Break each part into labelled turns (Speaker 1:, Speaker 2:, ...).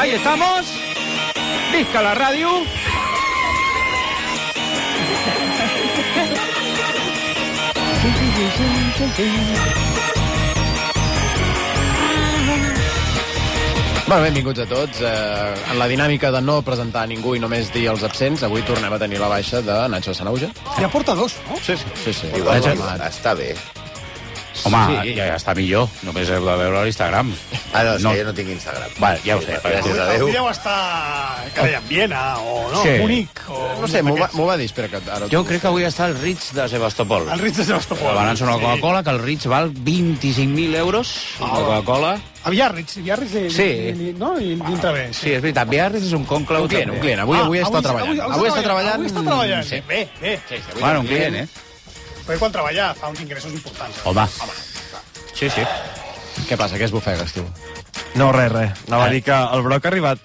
Speaker 1: Ahí estamos. Visca la radio.
Speaker 2: Bueno, benvinguts a tots. Eh, en la dinàmica de no presentar a ningú i només dir els absents, avui tornem a tenir la baixa de Nacho Sanauja.
Speaker 3: Ja porta dos, no?
Speaker 2: Sí, sí. sí, sí.
Speaker 4: Igual,
Speaker 2: Nacho,
Speaker 4: igual,
Speaker 2: Nacho.
Speaker 4: està bé.
Speaker 5: Home, sí. ja, ja està millor. Només heu de veure a l'Instagram.
Speaker 4: Ah, no, és
Speaker 5: No.
Speaker 4: que jo no tinc Instagram.
Speaker 5: Vale, ja ho sé.
Speaker 4: Gràcies a
Speaker 3: Avui
Speaker 4: Déu.
Speaker 3: deu estar, que deien, Viena, o no,
Speaker 5: Sí.
Speaker 3: Munic, o...
Speaker 2: No sé, m'ho va, m'ho va dir, espera, que ara...
Speaker 5: Jo crec que avui està el Ritz de Sebastopol.
Speaker 3: El Ritz de Sebastopol.
Speaker 5: Van anar una Coca-Cola, que el Ritz val 25.000 euros. La Coca-Cola.
Speaker 3: Havia Ritz, havia Ritz, i-
Speaker 5: Sí.
Speaker 3: i- i- no? I dintre bé, sí.
Speaker 5: Sí, és veritat. Biarritz és un eh? conclau
Speaker 2: Un client,
Speaker 5: també.
Speaker 2: un client. Avui, avui
Speaker 3: Ah,
Speaker 2: està
Speaker 3: avui-
Speaker 2: treballant.
Speaker 3: avui- avui
Speaker 2: treballant.
Speaker 3: està treballant, avui està treballant.
Speaker 2: Sí.
Speaker 3: Bé, bé.
Speaker 2: Sí, sí, avui
Speaker 5: Bueno, un
Speaker 2: està
Speaker 5: client, eh?
Speaker 3: Perquè quan treballa fa uns ingressos importants. eh?
Speaker 5: Home. Sí, sí.
Speaker 2: Què passa? Què es bofegues, tu?
Speaker 6: No, res, res.
Speaker 5: Ah,
Speaker 6: Anava a dir que el Broc ha arribat...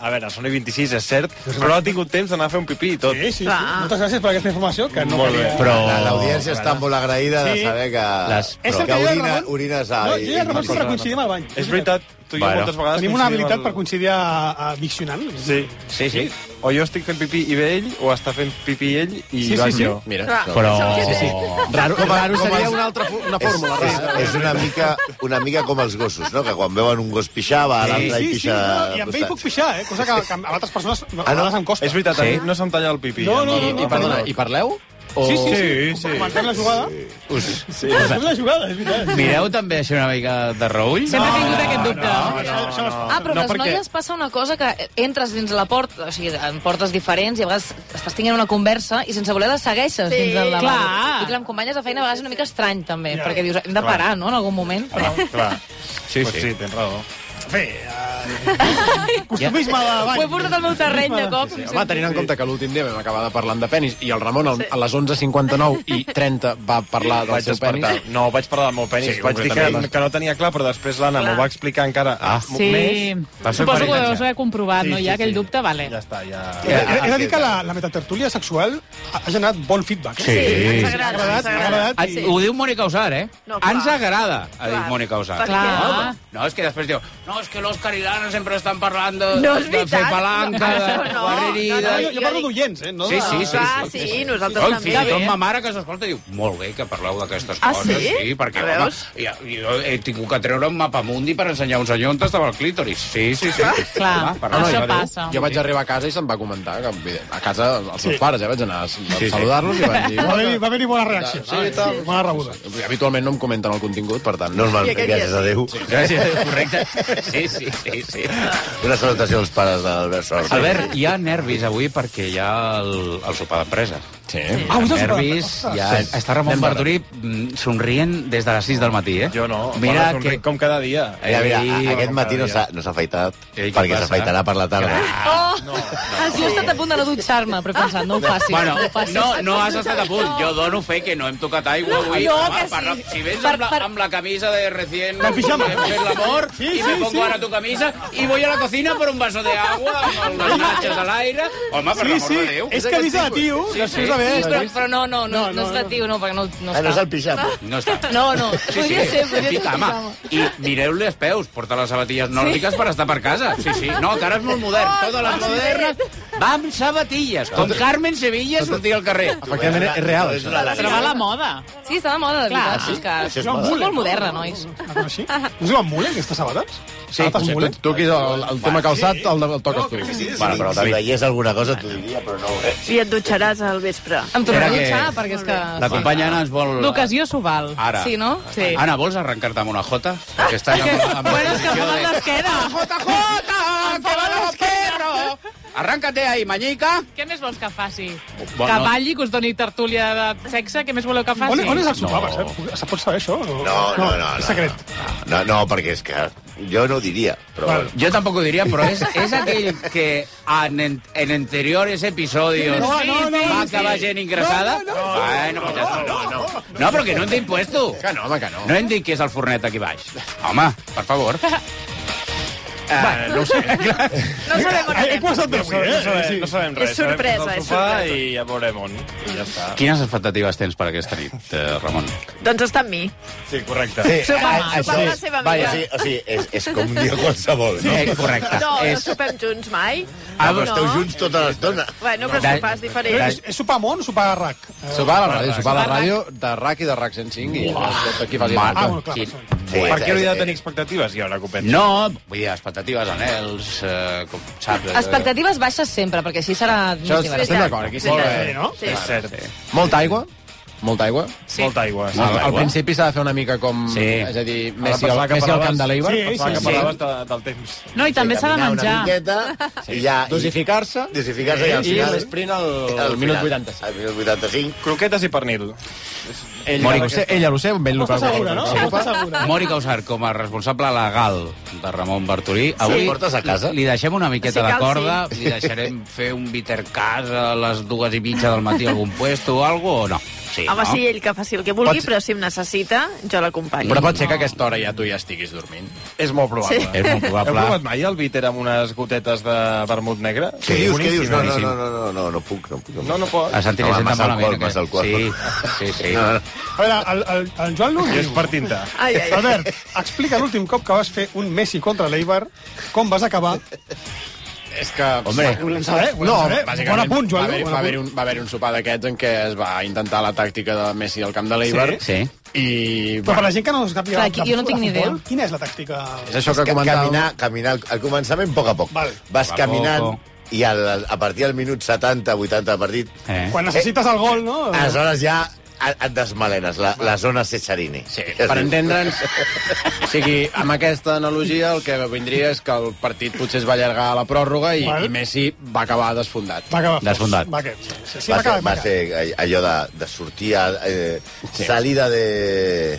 Speaker 6: A veure, són i 26, és cert, però ha tingut temps d'anar a fer un pipí i tot.
Speaker 3: Sí, sí, sí. Moltes gràcies per aquesta informació, que no
Speaker 6: Molt bé.
Speaker 3: calia-
Speaker 5: Però...
Speaker 4: La- L'audiència està molt agraïda de
Speaker 3: Sí.
Speaker 4: saber que,
Speaker 5: Les-
Speaker 3: És el
Speaker 4: que
Speaker 3: que jo i
Speaker 4: orina,
Speaker 3: Ramon-
Speaker 4: orines a...
Speaker 3: No, jo i el Ramon sempre
Speaker 4: i-
Speaker 3: coincidim al bany.
Speaker 6: És veritat, tu i jo
Speaker 5: Bueno.
Speaker 6: moltes vegades...
Speaker 3: Tenim una
Speaker 6: coincidim
Speaker 3: habilitat
Speaker 6: al-
Speaker 3: per coincidir a, a diccionant.
Speaker 6: Sí.
Speaker 5: Sí, sí.
Speaker 6: O jo estic fent pipí i ve ell, o està fent pipí ell i
Speaker 3: Sí,
Speaker 6: va
Speaker 3: sí, sí.
Speaker 6: jo.
Speaker 2: Mira,
Speaker 5: Però... Sí, sí.
Speaker 2: Raro,
Speaker 4: Com a-
Speaker 2: raro
Speaker 4: com
Speaker 2: seria
Speaker 4: els-
Speaker 2: una altra fu- una
Speaker 4: És,
Speaker 2: fórmula.
Speaker 4: és,
Speaker 2: rara.
Speaker 4: és una, mica, una mica com els gossos, no? Que quan veuen un gos pixar, va a
Speaker 3: Sí,
Speaker 4: l'altre
Speaker 3: sí,
Speaker 4: i
Speaker 3: sí,
Speaker 4: pixa...
Speaker 3: no,
Speaker 4: al
Speaker 3: i amb ell
Speaker 4: costat.
Speaker 3: puc pixar, eh? Cosa que, que a altres persones a
Speaker 4: Ah, no?
Speaker 3: vegades em costa.
Speaker 6: És veritat,
Speaker 5: Sí.
Speaker 6: a mi no se'm talla el pipí.
Speaker 3: No,
Speaker 6: a mi-
Speaker 3: no, no,
Speaker 6: a mi
Speaker 3: no.
Speaker 2: I, perdona, I parleu? O...
Speaker 3: Sí, sí,
Speaker 6: Sí,
Speaker 3: sí.
Speaker 6: sí.
Speaker 3: Comentem la jugada. Sí, comentem la jugada, és veritat.
Speaker 5: Mireu també així una mica de reull.
Speaker 7: Sempre he tingut aquest dubte.
Speaker 3: Això, això no es fa.
Speaker 7: Ah, però
Speaker 6: No,
Speaker 7: no, les
Speaker 6: perquè-
Speaker 7: noies passa una cosa que entres dins la porta, o sigui, en portes diferents i a vegades estàs tinguent una conversa i sense voler la segueixes sí, dins del lavabo.
Speaker 8: clar.
Speaker 7: I clar, amb companyes de feina a vegades és una mica estrany també,
Speaker 3: Ja.
Speaker 7: perquè dius, hem de parar, no?, en algun moment. Però...
Speaker 6: Clar.
Speaker 5: Sí,
Speaker 6: Pues sí,
Speaker 5: sí.
Speaker 6: tens raó.
Speaker 3: Bé, eh, costumisme de bany.
Speaker 7: Ho he portat al meu terreny de cop.
Speaker 2: Sí, Home, tenint en compte que l'últim dia vam acabar de parlar de penis i el Ramon al- a les 11.59 i 30 va parlar del
Speaker 6: Vaig
Speaker 2: seu penis.
Speaker 6: despertar. No, vaig parlar del meu penis.
Speaker 2: Sí,
Speaker 6: vaig dir que,
Speaker 2: concretament.
Speaker 6: que no tenia clar, però després l'Anna m'ho va explicar encara ah,
Speaker 8: Sí.
Speaker 6: més. Va ser
Speaker 8: Suposo que ho
Speaker 6: veritat,
Speaker 8: deus haver comprovat,
Speaker 6: Sí,
Speaker 8: no?
Speaker 6: sí,
Speaker 8: Hi ha aquell
Speaker 6: sí.
Speaker 8: dubte, vale.
Speaker 6: Ja està, ja...
Speaker 3: He, he de dir que la, la metatertúlia sexual ha ha generat bon feedback.
Speaker 5: Sí.
Speaker 3: eh?
Speaker 5: Ens
Speaker 3: Ha agradat, ha agradat.
Speaker 5: Ah,
Speaker 3: i-
Speaker 5: Ho diu Mònica Usar, eh?
Speaker 9: No, clar.
Speaker 5: Ens agrada, ha dit
Speaker 9: Clar. Ah,
Speaker 5: Mònica Usar.
Speaker 9: Perquè-
Speaker 8: Clar.
Speaker 5: No, és que després diu, no, és que l'Òscar i l'Anna sempre estan parlant de,
Speaker 9: No és
Speaker 5: de fer
Speaker 9: veritat.
Speaker 5: palanca, de
Speaker 9: No, no, no,
Speaker 5: guarrerida...
Speaker 3: No,
Speaker 9: no,
Speaker 3: jo, jo parlo d'oients, eh? No
Speaker 5: Sí,
Speaker 3: de-
Speaker 5: sí, sí.
Speaker 9: Clar, sí, nosaltres
Speaker 5: Oi,
Speaker 9: també.
Speaker 5: fins i tot ma mare que s'escolta diu molt bé que parleu d'aquestes
Speaker 9: Ah,
Speaker 5: coses,
Speaker 9: sí?
Speaker 5: sí perquè home,
Speaker 9: Veus?
Speaker 5: ja, jo he tingut que treure un mapamundi per ensenyar un senyor on estava el clítoris. Sí, sí, sí.
Speaker 8: Clar,
Speaker 5: parla,
Speaker 8: això
Speaker 5: ja veu.
Speaker 8: passa.
Speaker 2: Jo vaig arribar a casa i se'm va comentar que evident, a casa els seus pares, eh, vaig anar a
Speaker 5: sí.
Speaker 2: saludar-los i van dir...
Speaker 3: Va haver-hi va haver bona reacció.
Speaker 2: Sí, i tal.
Speaker 3: Bona rebuda.
Speaker 2: Habitualment no em comenten el contingut, per tant, no és
Speaker 9: I
Speaker 4: Normalment,
Speaker 9: aquest dia
Speaker 4: gràcies a Déu.
Speaker 5: Gràcies, correcte. Sí, sí, sí, sí.
Speaker 4: Una salutació als pares de l'Albert Sors.
Speaker 5: Albert, hi ha nervis avui perquè hi ha el, el sopar d'empresa.
Speaker 2: Sí.
Speaker 5: Ah,
Speaker 3: avui és el sopar
Speaker 5: nervis,
Speaker 3: d'empresa.
Speaker 5: ja, està Ramon Bardorí mm, somrient des de les 6 del matí, eh?
Speaker 6: Jo no.
Speaker 5: Mira
Speaker 6: Mira,
Speaker 5: que...
Speaker 6: com cada dia.
Speaker 4: Mira, mira,
Speaker 5: Ei,
Speaker 4: aquest
Speaker 6: com
Speaker 4: matí
Speaker 6: cada
Speaker 4: no
Speaker 6: dia.
Speaker 4: s'ha no s'ha afaitat,
Speaker 5: Ei, què
Speaker 4: perquè
Speaker 5: passa?
Speaker 4: s'afaitarà per la tarda.
Speaker 7: Oh! No, Jo he estat a punt de no dutxar-me, però he pensat, no ho facis,
Speaker 5: Bueno,
Speaker 7: no ho facis.
Speaker 5: no, no has estat a punt. Jo dono fe que no hem tocat aigua
Speaker 7: No,
Speaker 5: avui.
Speaker 7: no,
Speaker 5: Home,
Speaker 7: que sí.
Speaker 5: parla- si vens
Speaker 7: Per-
Speaker 5: amb, la,
Speaker 7: per-
Speaker 5: amb la camisa de recién...
Speaker 3: De pijama.
Speaker 5: Hem fet l'amor
Speaker 3: Sí,
Speaker 5: i
Speaker 3: sí,
Speaker 5: me pongo
Speaker 3: sí.
Speaker 5: ara tu camisa i voy a la cocina por un vaso de agua amb les imatges a l'aire. Home, per
Speaker 3: Sí,
Speaker 5: l'amor
Speaker 3: sí,
Speaker 5: de Déu.
Speaker 3: és que avisa de tio.
Speaker 5: Sí,
Speaker 3: després
Speaker 5: sí.
Speaker 3: de
Speaker 7: Sí,
Speaker 3: veure.
Speaker 7: però, però no, no, no,
Speaker 3: No,
Speaker 7: no,
Speaker 3: no,
Speaker 7: és de tio, no, perquè no, no
Speaker 4: Ah, no és
Speaker 7: està.
Speaker 4: el pijama.
Speaker 5: No està.
Speaker 7: No, no, podria ser, podria ser.
Speaker 5: Pijama. I mireu-li els peus, porta les sabatilles nòrdiques per estar per casa. Sí, sí. No, que ara és molt modern.
Speaker 7: Oh,
Speaker 5: Totes les modernes va amb sabatilles. Com Carmen Sevilla sortia al carrer.
Speaker 2: Efectivament, és real,
Speaker 4: No, és
Speaker 2: això.
Speaker 4: una
Speaker 8: Però va la moda.
Speaker 7: Sí, està de moda, de
Speaker 8: Clar.
Speaker 7: veritat. és que
Speaker 4: Això és
Speaker 7: és
Speaker 4: moda.
Speaker 7: molt moderna, nois.
Speaker 3: La coneixi? Ah, No es diuen mule, aquestes sabates?
Speaker 2: Sí,
Speaker 3: sabates
Speaker 2: sí,
Speaker 3: mule?
Speaker 2: tu, tu aquí el, el tema calçat el, el toques tu.
Speaker 4: Bueno, però si veiés alguna cosa t'ho diria, però no ho veig.
Speaker 9: I et dutxaràs al vespre.
Speaker 7: Em tornarà a
Speaker 5: Espera que-
Speaker 7: dutxar, perquè és que...
Speaker 5: La companya Anna ens vol...
Speaker 8: L'ocasió s'ho val.
Speaker 5: Ara.
Speaker 7: Sí, no?
Speaker 8: Sí.
Speaker 5: Ana, vols arrencar-te amb una jota? Que està amb, amb
Speaker 8: Bueno, és que fa mal d'esquena.
Speaker 5: ¡Jota, jota! ¡Que van los perros! Arráncate ahí, mañica.
Speaker 8: Què més vols que faci?
Speaker 5: Bueno.
Speaker 8: Que balli, que us doni tertúlia de sexe? Què més voleu que
Speaker 7: Ah,
Speaker 3: On,
Speaker 8: faci?
Speaker 3: on és el sopar? No. Se pot saber, això? No,
Speaker 4: No, no, no.
Speaker 3: És
Speaker 4: no,
Speaker 3: secret.
Speaker 4: No, no, no, perquè és que jo no ho diria, però...
Speaker 3: Bueno.
Speaker 4: Bueno.
Speaker 5: Yo tampoco diría, pero es, es aquel que en, en anteriores episodios
Speaker 3: No, no, no,
Speaker 5: va a
Speaker 3: sí.
Speaker 5: acabar gent ingressada.
Speaker 3: No, no, no.
Speaker 5: bueno, pues ja no, no, no. No, però que no hem em dit puesto.
Speaker 2: Que no, home, que no.
Speaker 5: No hem dit qui és el fornet aquí baix. Home, per favor.
Speaker 6: Eh, no ho sé, clar.
Speaker 9: No sabem on
Speaker 3: He, he
Speaker 9: anem.
Speaker 3: posat de
Speaker 6: No sabem, no sabem, no sabem res.
Speaker 9: És sorpresa,
Speaker 6: Sabem que
Speaker 9: és
Speaker 6: és al sofà
Speaker 9: sorpresa.
Speaker 6: I ja veurem on. I ja està.
Speaker 5: Quines expectatives tens per aquesta nit, eh, Ramon?
Speaker 9: Doncs està amb mi.
Speaker 6: Sí, correcte.
Speaker 4: Sí,
Speaker 9: Sopar,
Speaker 4: ah, això
Speaker 9: sopar amb la
Speaker 4: és-
Speaker 9: seva
Speaker 4: Vaja,
Speaker 9: amiga.
Speaker 4: sí, o sigui, és, és com un dia qualsevol, no?
Speaker 5: Eh, correcte.
Speaker 9: No, no
Speaker 5: és...
Speaker 9: sopem junts mai.
Speaker 4: Ah, però esteu junts tota l'estona.
Speaker 9: Bueno, però
Speaker 5: De-
Speaker 9: sopar és
Speaker 3: Eh,
Speaker 9: diferent.
Speaker 3: És, és sopar món o sopar a RAC? Eh,
Speaker 2: Sopar a la ràdio, sopar a la ràdio de RAC i de RAC 105 i tot aquí faci
Speaker 5: Mare.
Speaker 3: Ah,
Speaker 2: falta.
Speaker 3: bueno, clar.
Speaker 5: Sí.
Speaker 3: Sí.
Speaker 4: Sí,
Speaker 6: Per
Speaker 4: és-
Speaker 6: què no hi ha de
Speaker 4: és-
Speaker 6: tenir expectatives? Hi ha una competència.
Speaker 5: No, vull dir, expectatives, anels, eh, com saps... eh,
Speaker 7: Expectatives baixes sempre, perquè així serà més
Speaker 2: Això
Speaker 7: divertit.
Speaker 2: estem d'acord, aquí sí.
Speaker 9: Molt
Speaker 3: Sí, no?
Speaker 9: Sí.
Speaker 6: És cert.
Speaker 2: Molta aigua, molta aigua.
Speaker 8: Sí.
Speaker 6: Molta aigua.
Speaker 5: Molta
Speaker 2: Al, al
Speaker 5: aigua.
Speaker 2: principi s'ha de fer una mica com...
Speaker 5: Sí.
Speaker 2: És a dir,
Speaker 6: Ara
Speaker 2: Messi, al,
Speaker 6: pensava que
Speaker 2: Messi al
Speaker 6: parlaves-
Speaker 2: camp de l'Eibar.
Speaker 3: Sí,
Speaker 6: Pensava
Speaker 3: sí,
Speaker 6: que
Speaker 3: sí.
Speaker 6: parlaves de, del temps.
Speaker 8: No, i també s'ha de
Speaker 4: caminar
Speaker 8: menjar.
Speaker 4: Una miqueta, i ja... i-
Speaker 2: Dosificar-se
Speaker 4: Dosificar-se i al
Speaker 2: i
Speaker 4: final...
Speaker 2: l'esprint al,
Speaker 4: al
Speaker 2: al minut
Speaker 4: final,
Speaker 2: 85.
Speaker 4: Al minut 85.
Speaker 6: Croquetes i pernil.
Speaker 2: Ell, Mònica, ho sé, ella ho sé, un vell
Speaker 3: Està
Speaker 2: local.
Speaker 3: segura, no? Està segura.
Speaker 5: Mònica Usar, com a responsable legal de Ramon Bartolí, avui
Speaker 4: Sí. Portes a casa.
Speaker 5: li deixem una miqueta
Speaker 9: Si
Speaker 5: de
Speaker 9: cal,
Speaker 5: corda, li deixarem fer un bitter cas a les dues i mitja del matí a algun puesto o algo, o no? Sí,
Speaker 9: Home,
Speaker 5: no?
Speaker 9: sí, ell que faci el que vulgui,
Speaker 2: Pots-
Speaker 9: però si em necessita, jo l'acompanyo.
Speaker 2: Però pot ser que a aquesta hora ja tu ja estiguis dormint.
Speaker 6: És molt probable.
Speaker 9: Sí.
Speaker 5: És molt
Speaker 6: Heu
Speaker 5: probable.
Speaker 6: provat mai el bitter amb unes gotetes de vermut negre?
Speaker 4: Què dius, què dius? No, no,
Speaker 5: boníssim.
Speaker 4: no, no, no, no, no puc, no puc.
Speaker 6: No, no pot.
Speaker 5: A Santi li
Speaker 4: No,
Speaker 5: senta
Speaker 4: massa
Speaker 5: malament.
Speaker 4: alcohol,
Speaker 5: aquest.
Speaker 4: massa alcohol.
Speaker 5: Sí, sí, sí.
Speaker 4: No, no.
Speaker 3: A veure, el, el, el Joan Lund...
Speaker 6: Jo és per tinta.
Speaker 9: Ai, ai, ai.
Speaker 3: Albert, explica l'últim cop que vas fer un Messi contra l'Eibar, com vas acabar.
Speaker 2: És que...
Speaker 5: Hombre.
Speaker 2: volem
Speaker 3: saber, volem saber. Bon apunt,
Speaker 2: Va
Speaker 3: Joan,
Speaker 2: haver,
Speaker 3: bon
Speaker 2: va
Speaker 3: apunt.
Speaker 2: haver un, va haver un sopar d'aquests en què es va intentar la tàctica de Messi al camp de l'Eibar.
Speaker 5: Sí.
Speaker 2: I...
Speaker 3: Però per la gent que no sàpiga...
Speaker 7: Clar, aquí jo no tinc ni idea.
Speaker 3: Quina és la tàctica?
Speaker 2: És això que
Speaker 4: que
Speaker 2: comentàvem.
Speaker 4: caminar, caminar al- al començament, a poc a poc.
Speaker 3: Val.
Speaker 4: Vas
Speaker 5: Poc a
Speaker 4: caminant
Speaker 5: poco.
Speaker 4: i al, a partir del minut 70, 80 de partit,
Speaker 5: Eh?
Speaker 3: Quan necessites el gol, no?
Speaker 4: aleshores ja et et desmelenes, la, la zona Cesarini.
Speaker 2: Sí, per entendre'ns, o sigui, amb aquesta analogia el que vindria és que el partit potser es va allargar a la pròrroga i,
Speaker 3: Val.
Speaker 2: i Messi va acabar desfondat.
Speaker 3: Va acabar. fos.
Speaker 5: Desfondat.
Speaker 3: Va, que... Sí,
Speaker 4: va,
Speaker 3: sí, va,
Speaker 4: ser,
Speaker 3: acabar,
Speaker 4: va ser all- allò de, de sortir a, eh, salida de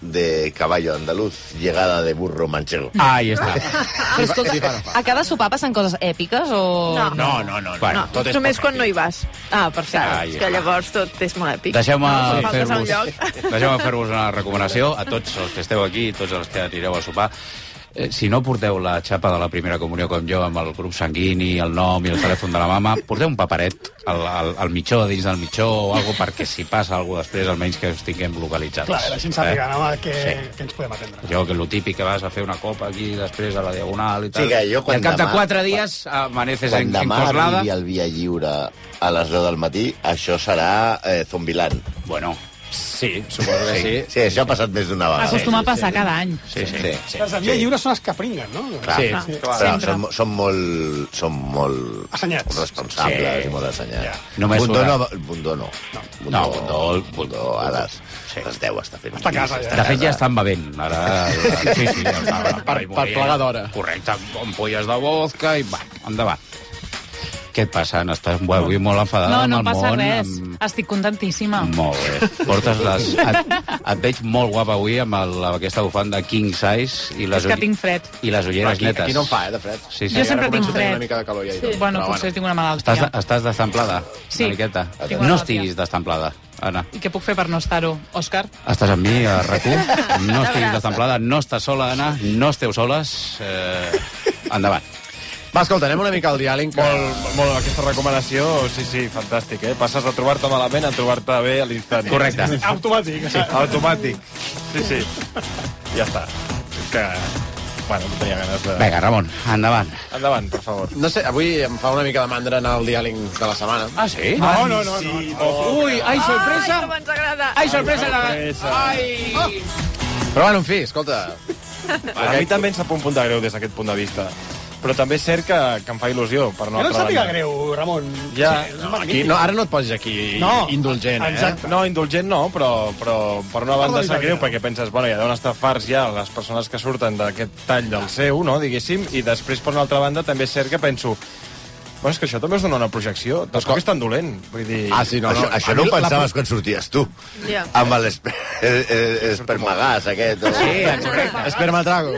Speaker 4: de caballo andaluz, llegada de burro manchego.
Speaker 5: Ahí està.
Speaker 7: Però, escolta, a cada sopar passen coses èpiques o...
Speaker 9: No.
Speaker 2: No, no, no. no.
Speaker 5: Bueno,
Speaker 9: No, només quan no hi vas.
Speaker 7: Ah, perfecte.
Speaker 5: Ai,
Speaker 9: Saps? Que
Speaker 5: ai.
Speaker 9: llavors tot és molt èpic.
Speaker 5: Deixeu-me
Speaker 9: no, quan faltes a
Speaker 5: fer-vos
Speaker 9: un lloc.
Speaker 5: deixeu fer una recomanació a tots els que esteu aquí i tots els que anireu a sopar. Eh, Si no porteu la xapa de la primera comunió com jo, amb el grup sanguini, el nom i el telèfon de la mama, porteu un paperet al, al, al mitjó, dins del mitjó, o algo perquè si passa alguna després, almenys que us tinguem localitzats.
Speaker 3: Clar, la gent
Speaker 4: Eh?
Speaker 3: sàpiga, no? Que,
Speaker 5: Sí.
Speaker 3: que ens podem atendre.
Speaker 5: Jo, que és lo típic que vas a fer una copa aquí, després a la diagonal i tal.
Speaker 4: Sí, que jo
Speaker 5: I
Speaker 4: quan
Speaker 5: al cap de
Speaker 4: demà-
Speaker 5: quatre dies eh, amaneces
Speaker 4: Quan
Speaker 5: en, en
Speaker 4: demà
Speaker 5: Coslada.
Speaker 4: arribi el Via Lliure a les 10 del matí, això serà eh, Zombiland.
Speaker 5: Bueno, sí,
Speaker 2: Suposo que sí.
Speaker 4: Sí, això ha passat més d'una vegada.
Speaker 8: Acostuma a passar cada any.
Speaker 5: sí, sí.
Speaker 4: Sí,
Speaker 5: sí.
Speaker 4: sí.
Speaker 3: Les de via lliure són els que pringuen, no?
Speaker 4: Clar.
Speaker 2: Sí,
Speaker 4: Sí,
Speaker 3: clar.
Speaker 4: Però
Speaker 8: Sempre.
Speaker 4: són, mo- són molt... Són molt
Speaker 3: Assenyats.
Speaker 4: responsables
Speaker 5: Sí.
Speaker 4: i molt assenyats.
Speaker 3: Ja.
Speaker 5: Només
Speaker 4: Bundó
Speaker 5: una.
Speaker 4: no, Bundó no. Bundó,
Speaker 5: No, Bundó-
Speaker 4: Bundó a les, sí. les 10 està fent...
Speaker 3: Està a casa, ja.
Speaker 5: De fet, ja estan bevent. Ara, sí, sí, ja
Speaker 2: Per- per plegar d'hora.
Speaker 5: Correcte, amb ampolles de vodka i va, endavant. Què et passa? Estàs bo, avui molt enfadada
Speaker 8: No, no
Speaker 5: amb el
Speaker 8: passa
Speaker 5: món.
Speaker 8: res. Estic contentíssima.
Speaker 5: Amb... Molt bé. Portes les... Et, et veig molt guapa avui amb, el, amb aquesta bufanda king size i les,
Speaker 8: És que
Speaker 5: ulli-
Speaker 8: tinc fred.
Speaker 5: i les
Speaker 2: Però
Speaker 5: ulleres
Speaker 2: aquí,
Speaker 5: netes.
Speaker 2: aquí no em fa, eh, de fred.
Speaker 5: Sí, sí.
Speaker 8: Jo
Speaker 5: Ara
Speaker 8: sempre tinc
Speaker 2: començo a tenir
Speaker 8: fred.
Speaker 2: una mica de calor ja. i tot,
Speaker 8: Bueno,
Speaker 2: però
Speaker 8: potser tinc una
Speaker 5: Estàs,
Speaker 8: malaltia.
Speaker 5: estàs destemplada,
Speaker 8: Sí.
Speaker 5: una miqueta.
Speaker 8: Tinc una
Speaker 5: No
Speaker 8: malaltia.
Speaker 5: estiguis destemplada, Anna.
Speaker 8: I què puc fer per no estar-ho, Òscar?
Speaker 5: Estàs amb mi a rac no estiguis destemplada, no estàs sola, Anna, no esteu soles. Eh, endavant.
Speaker 2: Va, escolta, anem una mica al diàleg. Que...
Speaker 6: Molt, molt, aquesta recomanació, sí, sí, fantàstic, eh? Passes de trobar-te malament a trobar-te bé a l'instant.
Speaker 5: Correcte.
Speaker 3: Automàtic.
Speaker 6: Sí, automàtic. Sí, sí. Ja està. És que... Bueno, no tenia ganes de...
Speaker 5: Vinga, Ramon, endavant.
Speaker 6: Endavant, per favor.
Speaker 2: No sé, avui em fa una mica de mandra anar al diàleg de la setmana.
Speaker 5: Ah, sí?
Speaker 3: No, no, no. no.
Speaker 5: Ui, ai,
Speaker 9: Ai,
Speaker 5: sorpresa!
Speaker 9: com ens agrada.
Speaker 5: Ai, sorpresa!
Speaker 6: sorpresa.
Speaker 5: la- Ai!
Speaker 2: Però bueno, en fi, escolta,
Speaker 6: A mi també em sap un punt de greu des d'aquest punt de vista. Però també és cert que, que em fa il·lusió, per no
Speaker 3: Que no et
Speaker 6: altra
Speaker 3: sàpiga
Speaker 6: banda.
Speaker 3: greu, Ramon.
Speaker 6: Ja,
Speaker 2: aquí, no, ara no et posis aquí
Speaker 3: No.
Speaker 2: indulgent, eh?
Speaker 3: Exacte.
Speaker 6: No, indulgent no, però, però per una banda
Speaker 3: Parla-li
Speaker 6: sap
Speaker 3: de
Speaker 6: greu,
Speaker 3: vida.
Speaker 6: perquè penses, bueno, ja deuen estar farts ja les persones que surten d'aquest tall del seu, no, diguéssim, i després per una altra banda també és cert que penso Bueno, és que això també us dona una projecció. Tampoc és tan dolent. Vull dir...
Speaker 2: Ah, sí, no, no.
Speaker 4: això, això no ho pensaves quan sorties tu.
Speaker 9: Ja.
Speaker 4: Amb eh, l'espermagàs aquest. O...
Speaker 5: Sí, correcte.
Speaker 2: Espermatrago.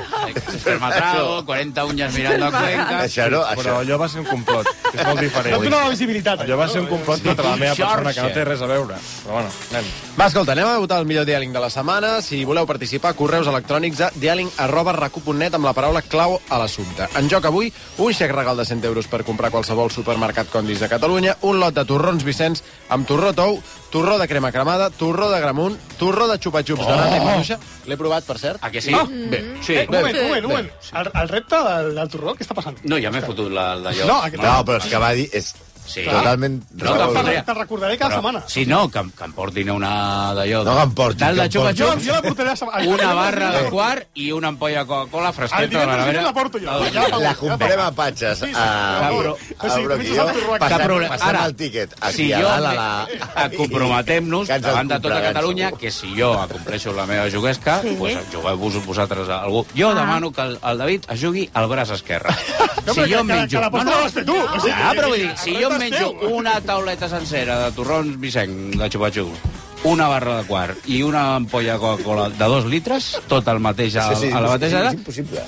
Speaker 5: Espermatrago, 40 uñas mirando a Cuenca.
Speaker 4: Això no,
Speaker 6: Però
Speaker 4: això...
Speaker 6: allò va ser un complot, que és molt
Speaker 3: No et
Speaker 6: diferent.
Speaker 3: donava visibilitat. eh?
Speaker 6: Allò va ser un complot contra la meva persona, que no
Speaker 2: Xarxa.
Speaker 6: té res a veure. Però bueno, nen.
Speaker 2: Va, escolta, anem a votar el millor diàling de la setmana. Si voleu participar, correus electrònics a dialing arroba recu.net amb la paraula clau a l'assumpte. En joc avui, un xec regal de 100 euros per comprar qualsevol supermercat Condis de Catalunya, un lot de torrons Vicenç amb torró tou, torró de crema cremada, torró de gramunt, torró de xupa-xups oh. de nata i maduixa. L'he provat, per cert.
Speaker 5: A que sí? Bé, sí.
Speaker 3: Eh, un moment, un moment, un moment. El, el repte del, del torró, què està passant?
Speaker 5: No, ja m'he fotut la- d'allò.
Speaker 3: No, aquest-
Speaker 4: No, però és que va dir... És
Speaker 5: Sí.
Speaker 4: totalment...
Speaker 5: No,
Speaker 4: raó.
Speaker 5: tampoc.
Speaker 3: Te recordaré cada setmana.
Speaker 5: Sí, no, que, em- que em portin una d'allò.
Speaker 4: No, que em portin,
Speaker 5: Tal de
Speaker 4: que em portin.
Speaker 5: xupa-xups,
Speaker 3: Jo- jo la portaré a sa- a-
Speaker 5: una barra de
Speaker 4: Eh.
Speaker 5: quart i una ampolla de Coca-Cola
Speaker 3: El
Speaker 5: fresqueta de la
Speaker 3: divendres vinent
Speaker 5: nevera.
Speaker 3: la porto jo.
Speaker 5: Ah,
Speaker 3: Ja,
Speaker 4: La
Speaker 3: ja,
Speaker 4: comprem a patxes a,
Speaker 10: Ah,
Speaker 4: a,
Speaker 5: però-
Speaker 4: a
Speaker 3: sí,
Speaker 4: Broquilló,
Speaker 3: comences a
Speaker 5: Cap
Speaker 3: torrar
Speaker 4: passant,
Speaker 5: problema.
Speaker 4: passant
Speaker 5: Ara,
Speaker 4: el tíquet aquí
Speaker 5: si
Speaker 4: a
Speaker 5: jo
Speaker 4: dalt a
Speaker 5: me-
Speaker 4: la...
Speaker 5: a comprometem-nos
Speaker 4: Que ens el
Speaker 5: davant de tota
Speaker 4: compraran,
Speaker 5: Catalunya
Speaker 4: segur.
Speaker 5: que si jo acompleixo la meva juguesca, sí. pues jugueu-vos vosaltres a algú. Jo ah. demano que el, el David es jugui al braç esquerre.
Speaker 3: No,
Speaker 5: si
Speaker 3: però
Speaker 5: jo
Speaker 3: que-
Speaker 5: em
Speaker 3: que-
Speaker 5: menjo...
Speaker 3: que l'aposta la vas fer tu. O sigui,
Speaker 5: Ja, però vull dir, si
Speaker 3: la
Speaker 5: jo em
Speaker 3: resta és
Speaker 5: menjo
Speaker 3: teu.
Speaker 5: una tauleta sencera de torrons Vicenc, de xupa-xups, una barra de quart i una ampolla de Coca-Cola de dos litres, tot el mateix a,
Speaker 4: Sí, sí,
Speaker 5: a la
Speaker 4: és-
Speaker 5: mateixa
Speaker 4: és
Speaker 5: edat,
Speaker 4: impossible.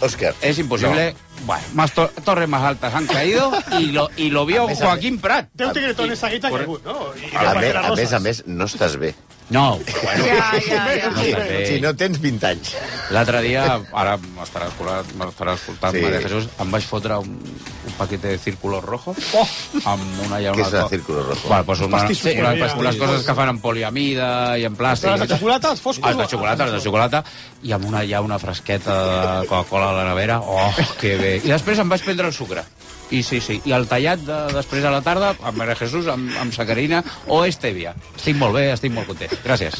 Speaker 4: Òscar.
Speaker 5: es imposible. Bueno, más to- torres más altas han caído y lo, y lo vio
Speaker 4: més, a
Speaker 5: Joaquín Prat.
Speaker 3: Deu tigretones seguits ha caigut, no? I
Speaker 4: A, me, a
Speaker 3: deu paquetes
Speaker 4: més, a
Speaker 3: roses.
Speaker 4: més, no estàs bé.
Speaker 5: No, però bueno,
Speaker 9: Ja, ja, ja.
Speaker 5: No estàs bé.
Speaker 4: Si no tens 20 anys.
Speaker 5: L'altre dia, ara m'estarà escoltant, m'estarà escoltant
Speaker 4: Sí.
Speaker 5: sí. Maria Jesús, em vaig fotre un, un paquet de círculos rojos oh! amb una llauna...
Speaker 4: Què és el círculo rojo?
Speaker 5: Bueno, pues una,
Speaker 3: pastissos,
Speaker 5: sí,
Speaker 3: sí,
Speaker 5: unes,
Speaker 3: ja.
Speaker 5: unes coses que fan amb poliamida i amb plàstic.
Speaker 3: Les de xocolata, els foscos,
Speaker 5: Els de xocolata, els de xocolata. I amb una llauna fresqueta de Coca-Cola a la nevera. Oh, que bé. I després em vaig prendre el sucre. I sí, sí. I el tallat de, després a la tarda, amb Maria Jesús, amb, amb sacarina o estèvia. Estic molt bé, estic molt content. Gràcies.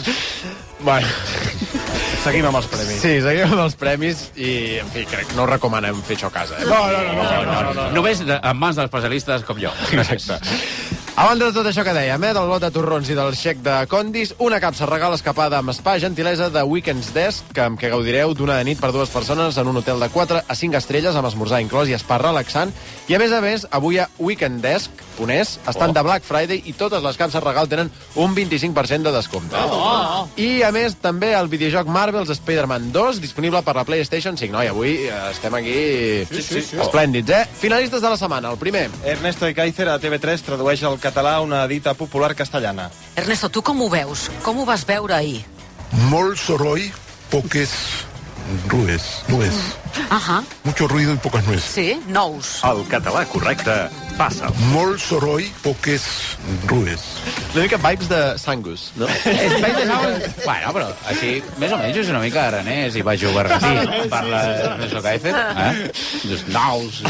Speaker 2: Bueno,
Speaker 6: seguim amb els premis.
Speaker 2: sí, seguim amb els premis i, en fi, crec que no recomanem fer això a casa. Eh?
Speaker 3: No, no, no, no.
Speaker 5: No, no, no. Només de, en mans d'especialistes com jo. Exacte.
Speaker 2: A banda de tot això que dèiem, eh, del lot de torrons i del xec de condis, una capsa regal escapada amb spa gentilesa de Weekends Desk, que amb què gaudireu d'una de nit per dues persones en un hotel de 4 a 5 estrelles amb esmorzar inclòs i spa relaxant. I a més a més, avui a Weekend Desk, Ponés, estan de Black Friday i totes les capses regal tenen un 25% de descompte. Oh. I a més, també el videojoc Marvel's Spider-Man 2, disponible per la PlayStation 5. Noi, avui eh, estem aquí sí, sí, sí. esplèndids, eh? Finalistes de la setmana, el primer.
Speaker 6: Ernesto Ekaizer a TV3 tradueix al català una dita popular castellana.
Speaker 11: Ernesto, tu com ho veus? Com ho vas veure ahir?
Speaker 10: Molt soroll, poques rues, nues.
Speaker 11: Ahà,
Speaker 10: Mucho ruido y pocas nueces.
Speaker 11: sí, nous.
Speaker 12: El català correcte passa.
Speaker 10: Molt soroll, poques rues.
Speaker 2: Una mica vibes de Sangus, no?
Speaker 5: Espais de Saus... Bueno, però així, més o menys, és una mica aranès i va jugar sí, parla més el que ha fet. Eh? Just naus...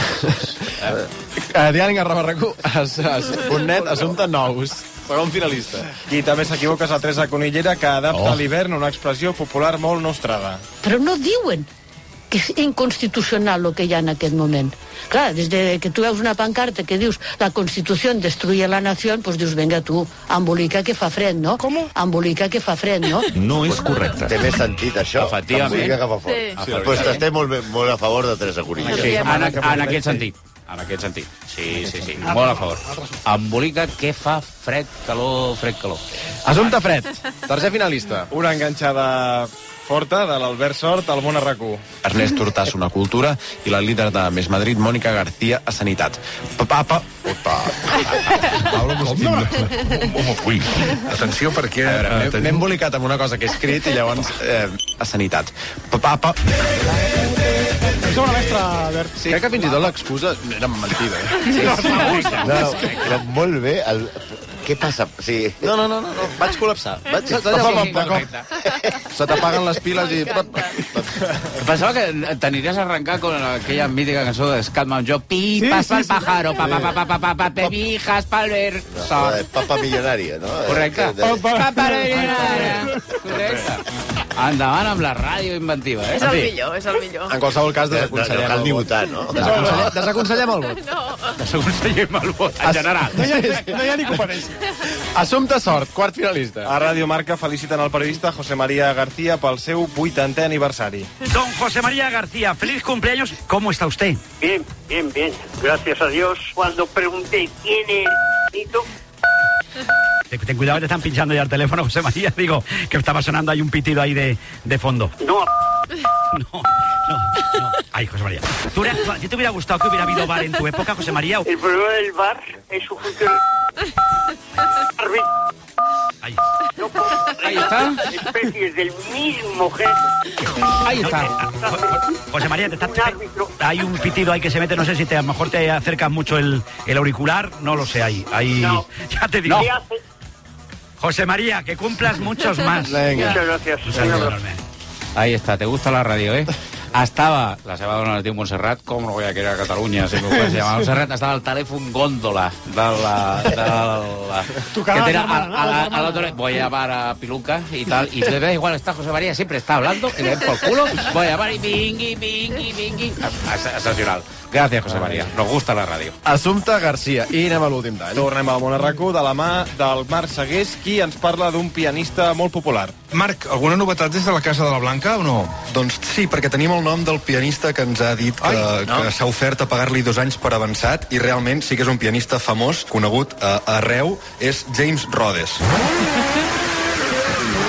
Speaker 2: Uh, diàleg arroba racu, as, as, un net, assumpte nous. Segon finalista.
Speaker 6: Qui també s'equivoca és la Teresa Conillera, que adapta
Speaker 5: Oh.
Speaker 6: oh. a l'hivern una expressió popular molt nostrada.
Speaker 11: Però no diuen que és inconstitucional el que hi ha en aquest moment. Clar, des de que tu veus una pancarta que dius la Constitució destruïa la nació, doncs dius, venga tu, embolica que fa fred, no? Com? Embolica que fa fred, no?
Speaker 12: No és correcte.
Speaker 4: Té més sentit, això.
Speaker 5: Efectivament.
Speaker 4: Em vull que agafa
Speaker 9: Sí.
Speaker 4: fort. Sí. Pues t'estem molt, bé- molt a favor de Teresa Cunilla.
Speaker 5: Sí, en, en aquest sentit. En aquest sentit. Sí, sí, sí. Molt a favor. Embolica que fa fred, calor, fred, calor.
Speaker 2: Assumpte fred. Tercer finalista.
Speaker 6: Una enganxada forta de l'Albert Sort al món arracú.
Speaker 2: Ernest Hortàs, una cultura, i la líder de Més Madrid, Mònica García, a Sanitat. Papa, papa.
Speaker 10: Paula Mosquina. Atenció perquè... eh,
Speaker 2: M'he
Speaker 10: tenim-
Speaker 2: embolicat amb una cosa que he escrit i llavors eh, a Sanitat. Papa, papa.
Speaker 3: Ets una mestra, Albert.
Speaker 2: Sí. Crec que fins i tot l'excusa era mentida. Eh?
Speaker 4: No, no, però molt bé. El... Què passa? Sí.
Speaker 2: No, no, no, no, no. Vaig col·lapsar. Vaig... Se t'apaguen les piles i...
Speaker 5: Em Pensava que t'aniries a arrencar con aquella mítica cançó de Scatman Joe. Pi, sí, passa sí, el pájaro, pa, pa, pa, pa, pa, pa, pa, pebijas, palver,
Speaker 4: No,
Speaker 5: sol.
Speaker 4: eh, Papa milionària, no? Eh,
Speaker 5: Correcte.
Speaker 4: que- de-
Speaker 5: Papa, Correcte. Endavant amb la ràdio inventiva, eh?
Speaker 9: És el millor, és el millor.
Speaker 2: En qualsevol cas,
Speaker 4: De- de-
Speaker 2: desaconsellem
Speaker 4: no cal ni
Speaker 2: el vot.
Speaker 4: votar, no?
Speaker 2: Desaconsellem, desaconsellem el vot.
Speaker 5: Desaconsellem el vot,
Speaker 2: Es-
Speaker 5: en general.
Speaker 2: No hi ha-
Speaker 3: No hi ha ni competència.
Speaker 2: Assumpte sort, quart finalista.
Speaker 6: A Radio Marca feliciten el periodista José María García pel seu 80è aniversari.
Speaker 13: Don José María García, feliz cumpleaños. ¿Cómo está usted?
Speaker 14: Bien, bien, bien. Gracias a Dios. Cuando pregunté quién es Tito,
Speaker 13: Ten, ten cuidado, te están pinchando ya el teléfono, José María. Digo, que estaba sonando, hay un pitido ahí de, de fondo.
Speaker 14: no.
Speaker 13: Ay, José María. ¿Tú, hubieras- tú- a ti te hubiera gustado que hubiera habido bar en tu época, José María?
Speaker 14: El problema del bar es su función. No Ahí
Speaker 13: está.
Speaker 14: Especies del mismo género.
Speaker 13: Ahí está. José María, te estás... Hay un pitido ahí que se mete, no sé si te, a lo mejor te acercas mucho el, el auricular, no lo sé, ahí. ahí Ya te digo.
Speaker 14: ¿Qué hace?
Speaker 13: José María, que cumplas muchos más.
Speaker 5: Venga.
Speaker 14: Muchas gracias.
Speaker 13: Un saludo enorme.
Speaker 5: Ahí está, te gusta la radio, ¿eh? Estava la seva dona es diu Montserrat, com no voy a querer a Catalunya si m'ho fas llamar Montserrat, estava al telèfon gòndola de la... De la
Speaker 1: Tocava
Speaker 5: que
Speaker 1: la
Speaker 5: tenen a,
Speaker 1: germana, la
Speaker 5: a, la, a la
Speaker 1: germana.
Speaker 5: otra- voy a llamar a Piluca y tal, y le da igual, está José María, siempre está hablando, que le den por culo, voy a llamar y bingui, bingui, bingui. Excepcional. Gràcies, José María, nos gusta la ràdio.
Speaker 2: Assumpte Garcia I anem a l'últim tall.
Speaker 6: Tornem al Monarracó de la mà del Marc Segués, qui ens parla d'un pianista molt popular.
Speaker 15: Marc, alguna novetat des de la Casa de la Blanca o no? Doncs sí, perquè tenim el nom del pianista que ens ha dit que,
Speaker 10: no.
Speaker 15: que s'ha ofert a pagar-li dos anys per avançat i realment sí que és un pianista famós, conegut a, arreu, és James Rhodes.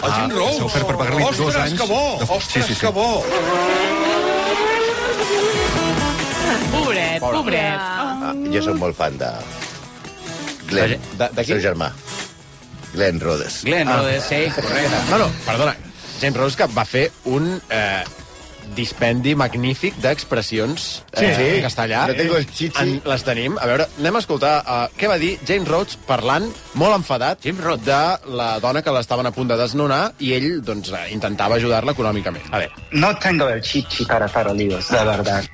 Speaker 15: Ah,
Speaker 10: El Jim Rhodes.
Speaker 15: S'ha ofert per pagar-li dos
Speaker 10: Ostres,
Speaker 15: anys...
Speaker 10: que bo!
Speaker 15: de-
Speaker 10: Ostres,
Speaker 15: sí, sí, sí.
Speaker 10: que bo!
Speaker 8: Pobret,
Speaker 4: Pobre.
Speaker 8: pobret.
Speaker 4: Ah, jo sóc molt fan de... Glenn, de, de seu germà. Glenn Rhodes.
Speaker 5: Glenn Rhodes, sí, correcte.
Speaker 2: No, no, perdona. James Rhodes que va fer un eh, dispendi magnífic d'expressions eh,
Speaker 4: Sí.
Speaker 2: en castellà.
Speaker 4: Yo tengo el chichi.
Speaker 2: En, les tenim. A veure, anem a escoltar eh, què va dir James Rhodes parlant, molt enfadat, James Rhodes. de la dona que l'estaven a punt de desnonar i ell doncs, eh, intentava ajudar-la econòmicament.
Speaker 5: A veure.
Speaker 16: No tengo el chichi para hacer líos, la verdad.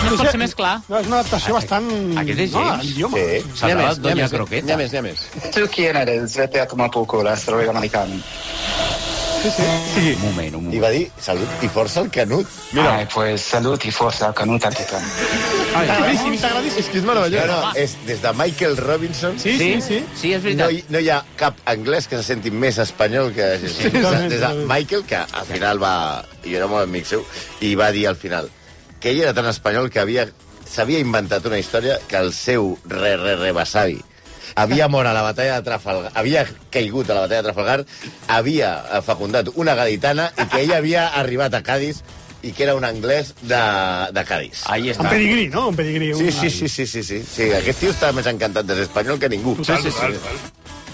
Speaker 8: No em pot ser més clar.
Speaker 3: No, és una adaptació bastant...
Speaker 5: Aquest és James?
Speaker 16: Sí.
Speaker 5: S'ha
Speaker 16: N'hi ha més,
Speaker 5: acabat
Speaker 16: n'hi ha
Speaker 5: Doña
Speaker 16: més,
Speaker 5: Croqueta.
Speaker 16: n'hi ha
Speaker 2: més, n'hi ha més.
Speaker 16: ¿Tú quién eres? Vete a tomar por culo, asteroide americano.
Speaker 4: Sí. Un
Speaker 5: moment, un moment.
Speaker 4: I va dir salut i força al Canut.
Speaker 16: Mira. Ay, pues salud y fuerza, canuta, titán.
Speaker 4: T'agradíssim,
Speaker 2: t'agradíssim. És que és meravellós.
Speaker 4: No, no, és des de Michael Robinson.
Speaker 5: Sí, sí, sí. Sí, és veritat.
Speaker 4: No hi, no hi ha cap anglès que se senti més espanyol que... Sí, sí, des, de, des de Michael, que al final va... Jo era molt amic seu, i va dir al final que ell era tan espanyol que havia s'havia inventat una història que el seu re re re besavi havia mort a la batalla de Trafalgar, havia caigut a la batalla de Trafalgar, havia eh, fecundat una gaditana i que ell havia arribat a Cádiz i que era un anglès de, de Cádiz.
Speaker 5: Ahí
Speaker 3: Un pedigrí, no? Un pedigrí.
Speaker 4: Sí,
Speaker 3: un-
Speaker 4: sí, sí, sí, sí, sí. sí aquest tio està més encantat de ser espanyol que ningú.
Speaker 3: Sí, sí, sí.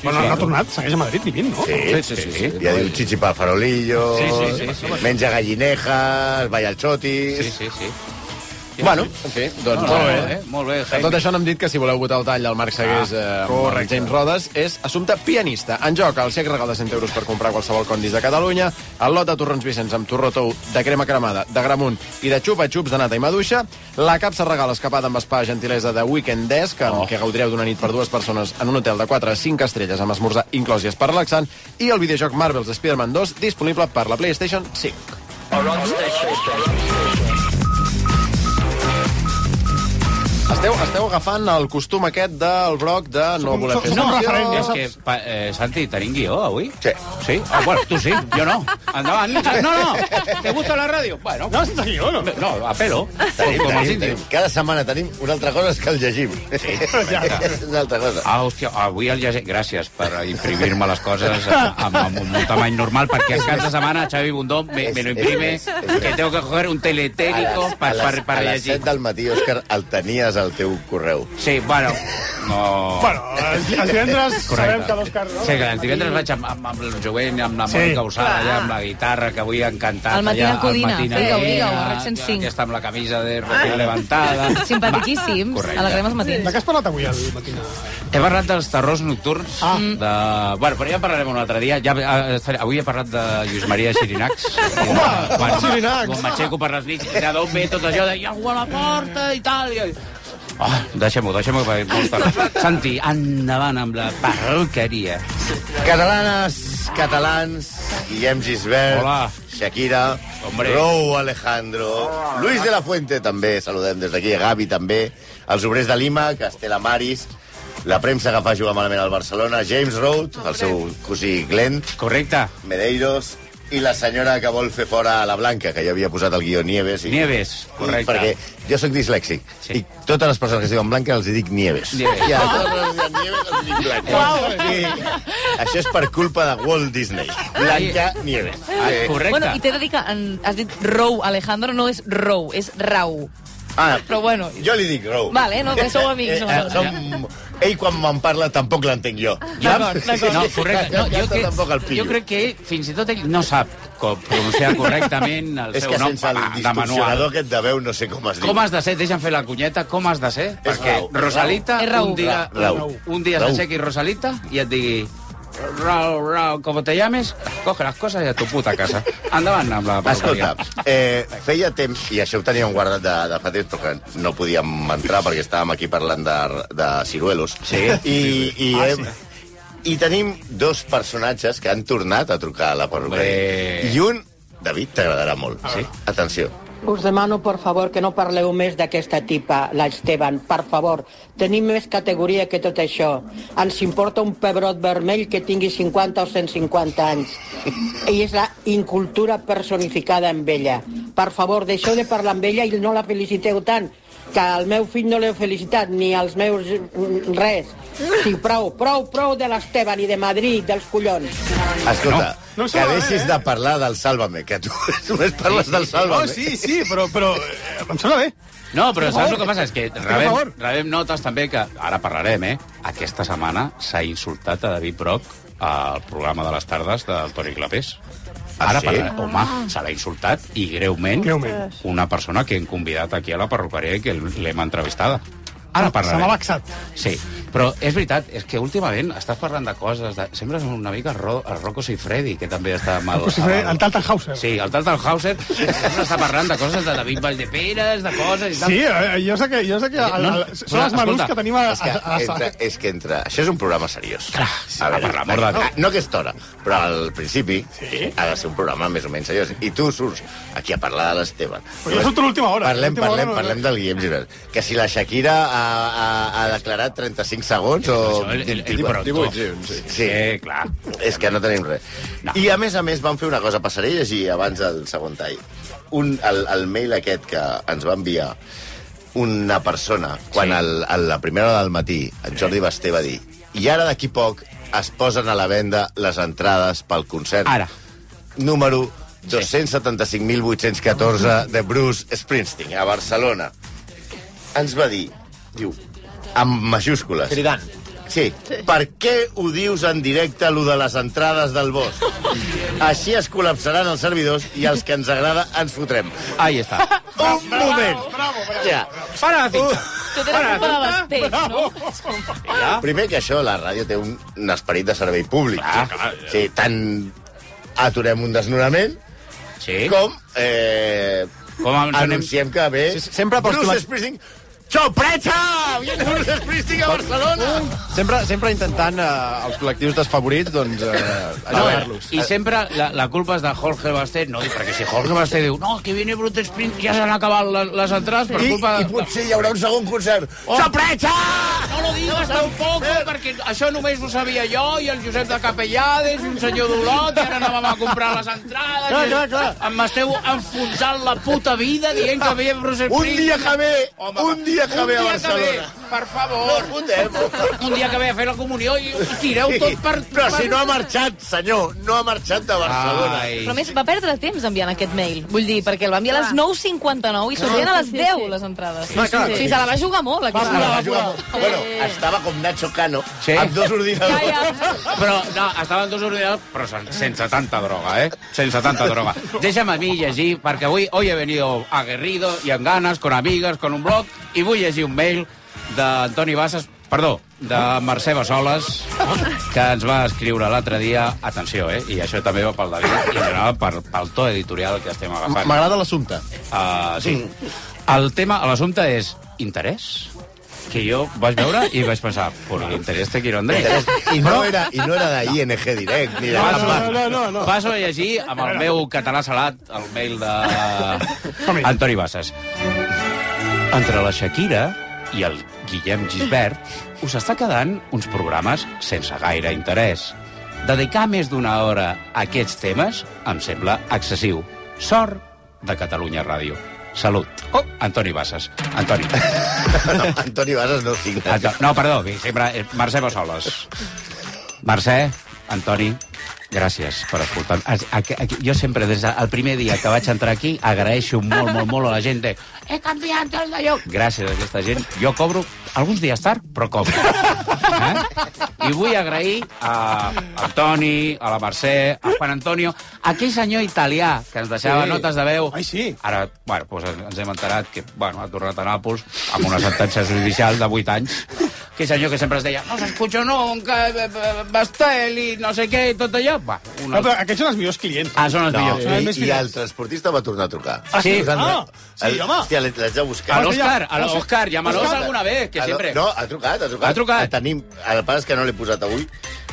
Speaker 3: Bueno, ha tornat, segueix a Madrid vivint, no?
Speaker 4: Sí, sí, sí, sí. Ja diu chichi pa farolillo,
Speaker 3: Sí, sí, sí, sí.
Speaker 4: menja gallinejas, balla al xotis...
Speaker 5: Sí, sí, sí.
Speaker 2: Bueno, en fi, doncs
Speaker 5: Molt
Speaker 2: molt
Speaker 5: bé,
Speaker 2: bé.
Speaker 5: eh? Molt bé,
Speaker 2: De tot això n'hem dit que si voleu votar el tall del Marc Segués ah, eh, amb el James Rodes és assumpte pianista. En joc, el xec regal de 100 euros per comprar qualsevol condis de Catalunya, el lot de torrons Vicenç amb torró tou de crema cremada, de gramunt i de xupa-xups de nata i maduixa, la capsa regal escapada amb spa gentilesa de Weekend Desk, amb oh. què gaudireu d'una nit per dues persones en un hotel de 4 a 5 estrelles amb esmorzar inclòs i espai relaxant, i el videojoc Marvel's Spider-Man 2 disponible per la PlayStation 5. Esteu, esteu agafant el costum aquest del broc de no voler fer
Speaker 5: és que, pa, eh, Santi, tenim guió avui? Sí. Sí? Ah, bueno, tu sí, jo no. Endavant. No, no, te gusta la ràdio? Bueno.
Speaker 3: No, sense guió, no.
Speaker 5: No, a pelo.
Speaker 4: Tenim,
Speaker 5: com els
Speaker 4: tenim,
Speaker 5: índims.
Speaker 4: tenim. Cada setmana tenim una altra cosa és que el llegim. Sí. és una altra cosa.
Speaker 5: Ah, hòstia, avui el llegeix... Gràcies per imprimir-me les coses amb, amb un tamany normal, perquè el cap de setmana Xavi Bundó me, me lo imprime, que tengo que coger un teletérico per,
Speaker 4: a les,
Speaker 5: per, per
Speaker 4: a les
Speaker 5: llegir.
Speaker 4: 7 del matí, Òscar, el tenies al teu correu.
Speaker 5: Sí, bueno... No...
Speaker 4: Bueno,
Speaker 3: els- els divendres sabem que l'Òscar, no?
Speaker 5: Sí, que els divendres vaig amb, amb, amb el jovent, amb la
Speaker 3: Sí.
Speaker 5: Mònica Usada,
Speaker 3: Clar.
Speaker 5: allà, amb la guitarra, que avui ha encantat.
Speaker 7: Al matí
Speaker 5: allà,
Speaker 7: en Codina.
Speaker 5: al matí en
Speaker 7: Digue-ho,
Speaker 5: Codina,
Speaker 7: digue-ho, a RAC 105.
Speaker 5: Aquesta amb la camisa de recién levantada.
Speaker 7: Simpaticíssims.
Speaker 5: correcte.
Speaker 7: Alegrem els matins.
Speaker 3: De què has parlat avui al matina?
Speaker 5: He parlat dels terrors nocturns. Ah. De... Bueno, però ja en parlarem un altre dia. Ja, eh, estaré- avui he parlat de Lluís Maria Xirinacs. Home, quan,
Speaker 1: Xirinacs!
Speaker 5: Quan m'aixeco per les nits, de d'on ve tot això de... Hi ha algú a la porta i tal. I... Oh, deixem-ho, deixem-ho. perquè molt tard. Santi, endavant amb la perruqueria.
Speaker 4: Catalanes, catalans, Guillem Gisbert, Hola. Shakira,
Speaker 5: Hombre.
Speaker 4: Rou Alejandro, Luis de la Fuente també, saludem des d'aquí, Gavi també, els obrers de Lima, Castela Maris, la premsa que fa jugar malament al Barcelona, James Road, el seu cosí Glenn.
Speaker 5: Correcte. Ah,
Speaker 4: Medeiros, i la senyora que vol fer fora a la Blanca, que jo havia posat el guió Nieves. I,
Speaker 5: Nieves, correcte.
Speaker 4: I perquè jo sóc dislèxic. Sí. I totes les persones que es diuen Blanca els hi dic Nieves.
Speaker 5: Nieves. Ah.
Speaker 4: I a totes les persones que es diuen Nieves els hi dic Blanca. I això és per culpa de Walt Disney. Blanca Nieves. Eh,
Speaker 5: Ah, correcte.
Speaker 7: Bueno, i t'he de dir que en, has dit Rou Alejandro, no és Rou, és Rau.
Speaker 4: Ah,
Speaker 7: Però bueno...
Speaker 4: Jo li dic Rou.
Speaker 7: Vale, no, que sou amics,
Speaker 4: Eh,
Speaker 7: no? Ah,
Speaker 4: eh, som... Ell, quan me'n parla, tampoc l'entenc jo.
Speaker 5: D'acord, d'acord. No, correcte. No, jo
Speaker 4: Aquesta
Speaker 5: que-
Speaker 4: tampoc el pillo.
Speaker 5: jo crec que fins i tot ell no sap com pronunciar correctament el
Speaker 4: és
Speaker 5: seu
Speaker 4: que
Speaker 5: nom
Speaker 4: sense el
Speaker 5: de- de manual.
Speaker 4: distorsionador aquest de veu no sé com es diu.
Speaker 5: Com has de ser? Deixa'm fer la cunyeta. Com has de ser? Perquè
Speaker 4: Raúl.
Speaker 5: Rosalita
Speaker 4: És Raúl.
Speaker 5: un dia,
Speaker 4: Raúl.
Speaker 5: un dia
Speaker 4: Raúl.
Speaker 5: s'aixequi Rosalita i et digui Rau, Rau, com te llames, coge las cosas y a tu puta casa. Endavant amb la
Speaker 4: Escolta,
Speaker 5: peluqueria.
Speaker 4: eh, feia temps, i això ho teníem guardat de, de fa temps, però que no podíem entrar perquè estàvem aquí parlant de, de ciruelos. Sí. I, i,
Speaker 5: Ah,
Speaker 4: hem, I tenim dos personatges que han tornat a trucar a la perruqueria. I un, David, t'agradarà molt. Ah. Sí. Atenció.
Speaker 17: Us demano, por favor, que no parleu més d'aquesta tipa, la Esteban. Per favor, tenim més categoria que tot això. Ens importa un pebrot vermell que tingui 50 o 150 anys. I és la incultura personificada en ella. Per favor, deixeu de parlar amb ella i no la feliciteu tant, que al meu fill no l'heu felicitat, ni als meus... mm, res. Sí, prou, prou, prou de l'Esteban i de Madrid, dels collons.
Speaker 4: Escolta, no, no que deixis eh? de parlar del Sálvame, que tu només parles del Sálvame.
Speaker 3: No, Oh, sí, sí, però, però eh, em sembla bé.
Speaker 5: No, però
Speaker 3: Per
Speaker 5: saps
Speaker 3: favor.
Speaker 5: el que passa? És que
Speaker 3: Per
Speaker 5: rebem,
Speaker 3: favor.
Speaker 5: rebem notes també que... Ara parlarem, eh? Aquesta setmana s'ha insultat a David Brock al programa de les tardes del Toni Clapés. Ara
Speaker 4: sí?
Speaker 5: parlarem. Home, se l'ha insultat i greument,
Speaker 3: Ah, Greument.
Speaker 5: una persona que hem convidat aquí a la perruqueria i que l'hem entrevistada. Ara
Speaker 3: Ah, Se m'ha
Speaker 5: parlarem.
Speaker 3: vexat.
Speaker 5: Sí, però és veritat, és que últimament estàs parlant de coses... De... Sembles una mica el, Ro... el Rocco Siffredi, que també està mal...
Speaker 3: Com si fes el Taltenhauser.
Speaker 5: Sí, el Taltenhauser sempre està parlant de coses de David Valdeperes, de coses i tal.
Speaker 3: Sí, eh, jo sé que, jo sé que el, el,
Speaker 5: No,
Speaker 3: són els menús
Speaker 5: escolta,
Speaker 3: que tenim a...
Speaker 4: És que,
Speaker 3: a, a,
Speaker 4: entra,
Speaker 3: a
Speaker 4: és que entra... Això és un programa seriós. Clar, sí, a
Speaker 5: per l'amor de
Speaker 4: no,
Speaker 5: Déu.
Speaker 4: no aquesta hora, però al principi sí? ha de ser un programa més o menys seriós. I tu surts aquí a parlar de l'Esteban.
Speaker 3: jo surto a l'última hora.
Speaker 4: Parlem,
Speaker 3: L'última hora
Speaker 4: parlem,
Speaker 3: no-
Speaker 4: parlem del Guillem Girard. Que si la Shakira ha, ha, ha declarat 35 segons o...
Speaker 5: Això, el- el- el pronto.
Speaker 4: sí. sí. Eh, clar. És que no tenim res. No. I a més a més van fer una cosa, passaré a llegir abans del segon tall. Un, el, el mail aquest que ens va enviar una persona quan sí. el, a la primera hora del matí en Jordi Basté va dir i ara d'aquí poc es posen a la venda les entrades pel concert ara. número 275.814 de Bruce Springsteen a Barcelona ens va dir diu, amb majúscules cridant Sí. sí. Per què ho dius en directe, lo de les entrades del bosc? Així es col·lapsaran els servidors i els que ens agrada ens fotrem.
Speaker 5: Ahí està.
Speaker 4: Un moment. Ja.
Speaker 5: Para la cinta.
Speaker 7: Tu tens la culpa de Basté, no?
Speaker 4: Ja. Primer que això, la ràdio té un, un esperit de servei públic. Clar, clar. Sí, tant aturem un desnonament sí. com... Eh,
Speaker 5: Com ens anem-
Speaker 4: anunciem que ve...
Speaker 2: Sí, sempre pots
Speaker 4: Bruce
Speaker 2: trobar-
Speaker 4: Springsteen... Xopreta! Viene Bruce Springsteen a Barcelona!
Speaker 2: Sempre, sempre intentant eh, els col·lectius desfavorits, doncs, eh, ajudar-los.
Speaker 5: I sempre la, la culpa és de Jorge Basté, no, perquè si Jorge Basté diu no, que viene Brut Sprint, ja s'han acabat les, les entrades per
Speaker 4: I,
Speaker 5: culpa...
Speaker 4: I potser hi haurà un segon concert. Oh. Xopreta!
Speaker 5: No lo digas tampoco,
Speaker 4: Eh.
Speaker 5: perquè això només ho sabia jo i el Josep de Capellades i un senyor d'Olot, i ara anàvem a comprar les entrades.
Speaker 4: Clar,
Speaker 5: i
Speaker 4: clar, clar.
Speaker 5: Em esteu enfonsant la puta vida dient que havia Bruce
Speaker 4: Un
Speaker 5: Springsteen.
Speaker 4: dia que ve, un dia que
Speaker 5: un
Speaker 4: ve a
Speaker 5: dia
Speaker 4: Barcelona.
Speaker 5: Que ve, per favor. un dia que ve a fer la comunió i us tireu tot per...
Speaker 4: Però si no ha marxat, senyor, no ha marxat de Barcelona.
Speaker 5: Ai.
Speaker 7: Però a més, va perdre temps enviant aquest mail. Vull dir, perquè el va enviar a les 9.59 i sortien a les 10 les entrades.
Speaker 4: Sí, clar,
Speaker 7: O
Speaker 4: sí.
Speaker 7: sigui, se la Ah, va jugar molt,
Speaker 4: Va
Speaker 7: aquesta.
Speaker 4: jugar, va jugar molt. Bueno, estava com Nacho Cano,
Speaker 5: Sí.
Speaker 4: amb dos ordinadors.
Speaker 5: Però, no, estaven dos ordinadors, però sen- sense tanta droga, eh? Sense tanta droga. Deixa'm a mi llegir, perquè avui hoy he venido aguerrido y amb ganes, con amigues, con un blog, i vull llegir un mail d'Antoni Bassas, perdó, de Mercè Bassoles, que ens va escriure l'altre dia, atenció, eh? I això també va pel David, i en general per, pel to editorial que estem agafant. Ah,
Speaker 2: M'agrada l'assumpte.
Speaker 5: Uh, sí. El tema, l'assumpte és interès? que jo vaig veure i vaig pensar, por el interés te quiero Andrés.
Speaker 4: I no era, i no era d'ING Direct, ni de
Speaker 5: Passo,
Speaker 4: cap
Speaker 5: no, no, no, no. passo a llegir amb el meu català salat el mail de Antoni Bassas. Entre la Shakira i el Guillem Gisbert us està quedant uns programes sense gaire interès. Dedicar més d'una hora a aquests temes em sembla excessiu. Sort de Catalunya Ràdio. Salut. Oh. Antoni Bassas. Antoni.
Speaker 4: No, Antoni Bassas no signa.
Speaker 5: Anto Ah, no, perdó, que sempre... eh, Mercè Bassoles. Mercè, Antoni, gràcies per escoltar. A, a, a, jo sempre, des del primer dia que vaig entrar aquí, agraeixo molt, molt, molt a la gent de... He canviat el de lloc. Gràcies a aquesta gent. Jo cobro alguns dies tard, però cobro. Eh? I vull agrair a Antoni, a la Mercè, a Juan Antonio, a aquell senyor italià que ens deixava
Speaker 3: Sí.
Speaker 5: sí. notes de veu.
Speaker 3: Ai, sí.
Speaker 5: Ara, bueno, doncs ens hem enterat que bueno, ha tornat a Nàpols amb una sentència judicial de 8 anys. Aquell senyor que sempre es deia, no s'escucho nunca, eh, eh, Bastel i no sé què, i tot allò. Va,
Speaker 3: No,
Speaker 5: una...
Speaker 3: però aquests són els millors clients.
Speaker 5: Ah, són els
Speaker 4: No,
Speaker 5: millors.
Speaker 4: i,
Speaker 3: més
Speaker 4: i
Speaker 3: fidels.
Speaker 4: el transportista va tornar a trucar.
Speaker 3: Ah, sí?
Speaker 4: Us han-
Speaker 3: Ah, sí,
Speaker 4: el-
Speaker 3: home.
Speaker 4: Hòstia, l'haig de buscar.
Speaker 5: A l'Òscar, a l'Òscar, llámalos
Speaker 4: Òscar.
Speaker 5: alguna vez, que
Speaker 4: Ah, no,
Speaker 5: sempre...
Speaker 4: No, ha trucat, ha trucat.
Speaker 5: Ha trucat.
Speaker 4: El tenim, el pas és que no l'he posat avui,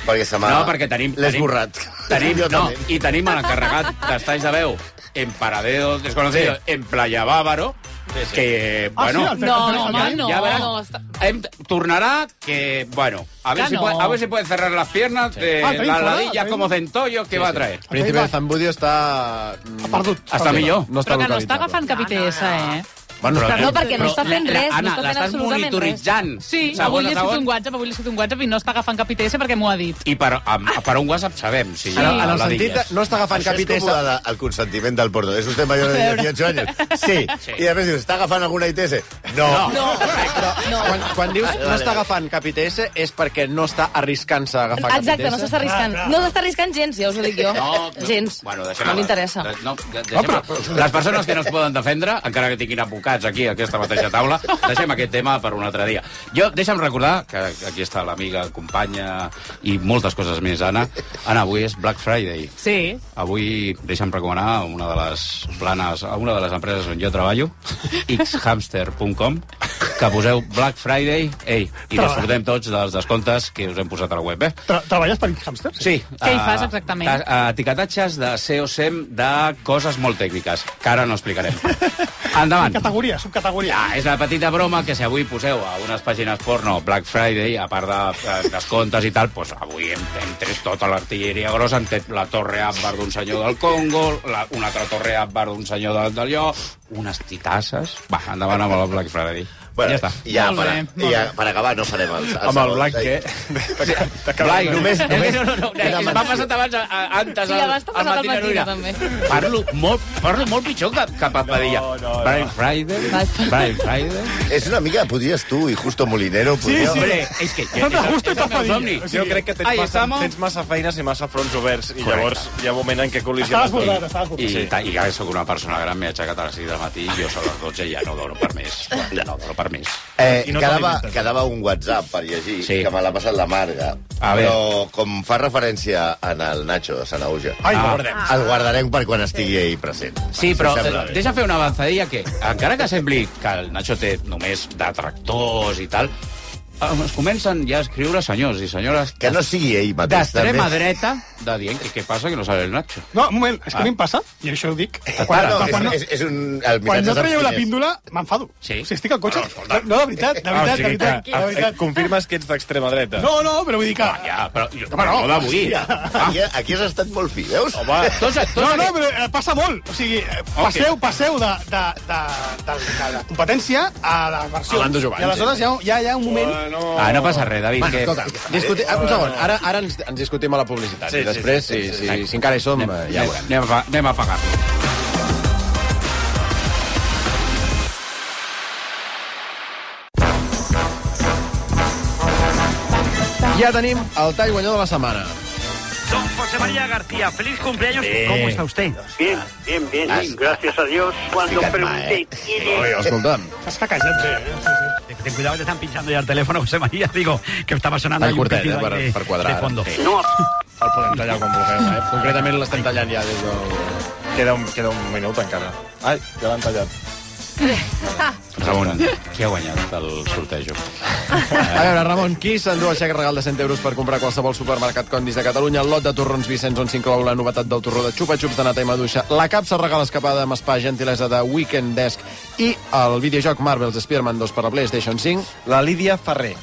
Speaker 4: perquè se m'ha...
Speaker 5: No, perquè tenim...
Speaker 4: L'he
Speaker 5: tenim-
Speaker 4: esborrat.
Speaker 5: Tenim,
Speaker 4: Jo
Speaker 5: no,
Speaker 4: també.
Speaker 5: i tenim l'encarregat d'estalls de veu en Paradero Desconocido, sí. en Playa Bávaro, sí, sí. que,
Speaker 8: Ah,
Speaker 5: bueno...
Speaker 8: sí, el Fer- No, el Fer- home,
Speaker 5: ja,
Speaker 8: no,
Speaker 5: Ja verás,
Speaker 8: no, està-
Speaker 5: em, tornarà que, bueno, a ver,
Speaker 8: Que
Speaker 5: si
Speaker 8: no.
Speaker 5: puede, a ver si puede cerrar las piernas de
Speaker 2: Ah, el tenim
Speaker 5: la
Speaker 2: fora,
Speaker 5: ladilla
Speaker 2: el tenim-
Speaker 5: como centollo que va a traer.
Speaker 2: El príncipe de Zambudio està... mm, Ha perdut.
Speaker 5: Està millor.
Speaker 2: No està
Speaker 8: Però que no està
Speaker 2: localitzat.
Speaker 8: agafant cap ITS, eh?
Speaker 2: Bueno,
Speaker 8: Però
Speaker 2: està-
Speaker 8: no, perquè no està fent
Speaker 5: eh, la- la-
Speaker 8: res,
Speaker 5: Anna,
Speaker 8: no està fent
Speaker 5: l'estàs
Speaker 8: absolutament res.
Speaker 5: monitoritzant.
Speaker 8: Sí,
Speaker 5: Segon
Speaker 8: avui
Speaker 5: a
Speaker 8: li he fet
Speaker 5: segon.
Speaker 8: un WhatsApp, avui li he fet un WhatsApp i no està agafant cap ITS perquè m'ho ha dit.
Speaker 5: I per, a, per un WhatsApp sabem, si
Speaker 4: Sí.
Speaker 5: hi ha
Speaker 4: En el
Speaker 5: la
Speaker 4: sentit
Speaker 5: ladilla.
Speaker 4: de- no està agafant cap ITS. el consentiment del porno. És usted mayor de 18 años? Sí. sí. I després dius, està agafant alguna ITS? No.
Speaker 2: No. Quan, quan dius no està agafant cap ITS és perquè no està arriscant-se a agafar cap
Speaker 7: Exacte,
Speaker 2: ITS.
Speaker 7: no s'està arriscant. No s'està arriscant gens, ja us ho dic jo.
Speaker 5: No, no.
Speaker 7: gens.
Speaker 5: Bueno, deixem
Speaker 7: no
Speaker 5: la-
Speaker 7: m'interessa.
Speaker 5: de- No, de- deixem la- Les persones que no es poden defendre, encara que tinguin advocats aquí, a aquesta mateixa taula, deixem aquest tema per un altre dia. Jo, deixa'm recordar que aquí està l'amiga, companya i moltes coses més, Anna. Anna, avui és Black Friday.
Speaker 8: Sí.
Speaker 5: Avui deixa'm recomanar una de les planes, a una de les empreses on jo treballo, xhamster.com, que poseu Black Friday, ei, i disfrutem tots dels descomptes que us hem posat a la web, eh?
Speaker 3: Tra treballes per hamsters?
Speaker 5: Sí.
Speaker 8: Què hi
Speaker 5: eh,
Speaker 8: fas exactament?
Speaker 5: ta- eh, Etiquetatges de SEO SEM de coses molt tècniques, que ara no explicarem. Endavant.
Speaker 3: Categoria, subcategoria.
Speaker 5: Ah, és la petita broma que si avui poseu a unes pàgines porno Black Friday, a part de eh, descomptes i tal, doncs avui hem, hem tret tota l'artilleria grossa, hem tret la torre Akbar d'un senyor del Congo, la, una altra torre Akbar d'un senyor del d'allò, unes titasses... Va, endavant amb el Black Friday.
Speaker 4: Bueno,
Speaker 5: ja està.
Speaker 4: Ja,
Speaker 5: Molt
Speaker 4: per,
Speaker 5: bé, molt
Speaker 4: ja,
Speaker 5: bé.
Speaker 4: per acabar, no farem el...
Speaker 5: Amb el eh? Black,
Speaker 4: què?
Speaker 5: Blai, només... només no, no, no,
Speaker 4: una
Speaker 5: no, m'ha
Speaker 4: menció.
Speaker 5: passat abans, a, a, antes,
Speaker 7: Sí, abans t'ha passat al
Speaker 5: Martí
Speaker 7: matí,
Speaker 5: Rovira.
Speaker 7: també.
Speaker 5: Parlo molt, parlo molt pitjor que, que Papadilla. No, no, no. Brian Friday. Brian Friday.
Speaker 4: És una mica, podries tu i Justo Molinero... podríeu-
Speaker 5: Hombre, és que...
Speaker 4: Sempre
Speaker 5: és
Speaker 4: justo i
Speaker 5: el meu
Speaker 4: Papadilla.
Speaker 5: somni.
Speaker 4: O sigui,
Speaker 6: Jo crec que tens,
Speaker 5: Ahí
Speaker 6: massa,
Speaker 5: estamos.
Speaker 6: tens massa feines i massa fronts oberts, i
Speaker 5: Correcte.
Speaker 6: llavors hi ha un moment en què col·lideixen...
Speaker 3: Estàs bordat, estàs bordat.
Speaker 5: I, sí. i que sóc una persona gran, m'he aixecat a les 6 del matí, jo sóc a les 12 i ja no dono per més. Ja no dono per més.
Speaker 4: Eh,
Speaker 5: I no
Speaker 4: quedava,
Speaker 5: t'alimentes.
Speaker 4: quedava un WhatsApp per llegir, sí. que me l'ha passat la Marga.
Speaker 5: A veure.
Speaker 4: però com fa referència en el Nacho de Sanauja,
Speaker 5: Ai, el guardem.
Speaker 4: el guardarem per quan estigui ell present.
Speaker 5: Sí,
Speaker 4: Si
Speaker 5: però
Speaker 4: sembla
Speaker 5: eh,
Speaker 4: bé.
Speaker 5: deixa fer una avanzadilla que, encara que sembli que el Nacho té només detractors i tal, eh, es comencen ja a escriure senyors i senyores
Speaker 4: Que no sigui ell mateix.
Speaker 5: d'extrema
Speaker 4: també.
Speaker 5: dreta de dient que què passa que no sale el Nacho.
Speaker 3: No, un moment, és que
Speaker 5: Ah.
Speaker 3: a mi em passa, i això ho dic.
Speaker 4: Quan, no,
Speaker 3: quan, quan,
Speaker 4: és, és, és un... El
Speaker 3: no, quan
Speaker 4: missatge
Speaker 3: no traieu la
Speaker 4: sap quin és.
Speaker 3: píndola, m'enfado.
Speaker 5: Sí.
Speaker 3: Si estic al cotxe... No, no, de veritat, de
Speaker 6: Ah, o
Speaker 3: veritat, de
Speaker 6: sigui que,
Speaker 3: veritat. De
Speaker 6: eh,
Speaker 3: veritat.
Speaker 6: confirmes que ets d'extrema dreta.
Speaker 3: No, no, però vull dir que...
Speaker 5: Ja, però... Jo,
Speaker 3: Home, no,
Speaker 5: no, d'avui.
Speaker 3: hòstia.
Speaker 5: Ah,
Speaker 4: Aquí, aquí has estat molt fi, veus?
Speaker 5: home, tots, tots,
Speaker 3: No, no, però eh, passa molt. O sigui, eh, passeu, passeu de, de, de, de, de la competència a la versió.
Speaker 2: Orlando Giovanni.
Speaker 3: I aleshores hi ha, hi ha, hi ha un moment...
Speaker 5: Ah, no passa res, David.
Speaker 2: Bueno,
Speaker 5: que...
Speaker 2: escolta, discuti... ah, un segon, ara, ara ens, ens discutim a la publicitat.
Speaker 5: Sí,
Speaker 2: Sí, I després,
Speaker 5: sí, sí,
Speaker 2: sí, sí,
Speaker 5: sí,
Speaker 2: si,
Speaker 5: sí.
Speaker 2: si, si encara hi som, eh, ja
Speaker 5: Anem,
Speaker 2: veurem.
Speaker 5: anem, a, anem a pagar.
Speaker 2: Ja tenim el tall guanyador de la setmana.
Speaker 13: Don José María García, feliz cumpleaños. ¿Cómo está usted? Ah,
Speaker 14: Bien, bien, bien. Gracias a Dios. Cuando
Speaker 13: Fica't,
Speaker 14: pregunté quién era...
Speaker 2: escolta'm.
Speaker 13: Estás cacayante, Ten cuidado, te están pinchando ya el teléfono, José María. Digo, que estaba sonando
Speaker 2: Tall
Speaker 13: ahí un
Speaker 2: curtet,
Speaker 13: pitido
Speaker 2: eh, per-
Speaker 13: ahí de,
Speaker 2: per quadrar.
Speaker 13: de fondo.
Speaker 2: Sí.
Speaker 14: No,
Speaker 2: El podem tallar com vulgueu, eh? Concretament l'estem tallant ja des del...
Speaker 6: Queda un, queda un minut encara. Ai, ja l'han tallat.
Speaker 5: Ramon, qui ha guanyat el sortejo?
Speaker 2: A veure, Ramon, qui s'endú el xec regal de 100 euros per comprar a qualsevol supermercat Condis de Catalunya, el lot de torrons Vicenç on s'inclou la novetat del torró de xupa-xups de nata i maduixa, la capsa regal escapada amb spa gentilesa de Weekend Desk i el videojoc Marvel's Spider-Man 2 per la PlayStation 5,
Speaker 6: la Lídia Ferrer.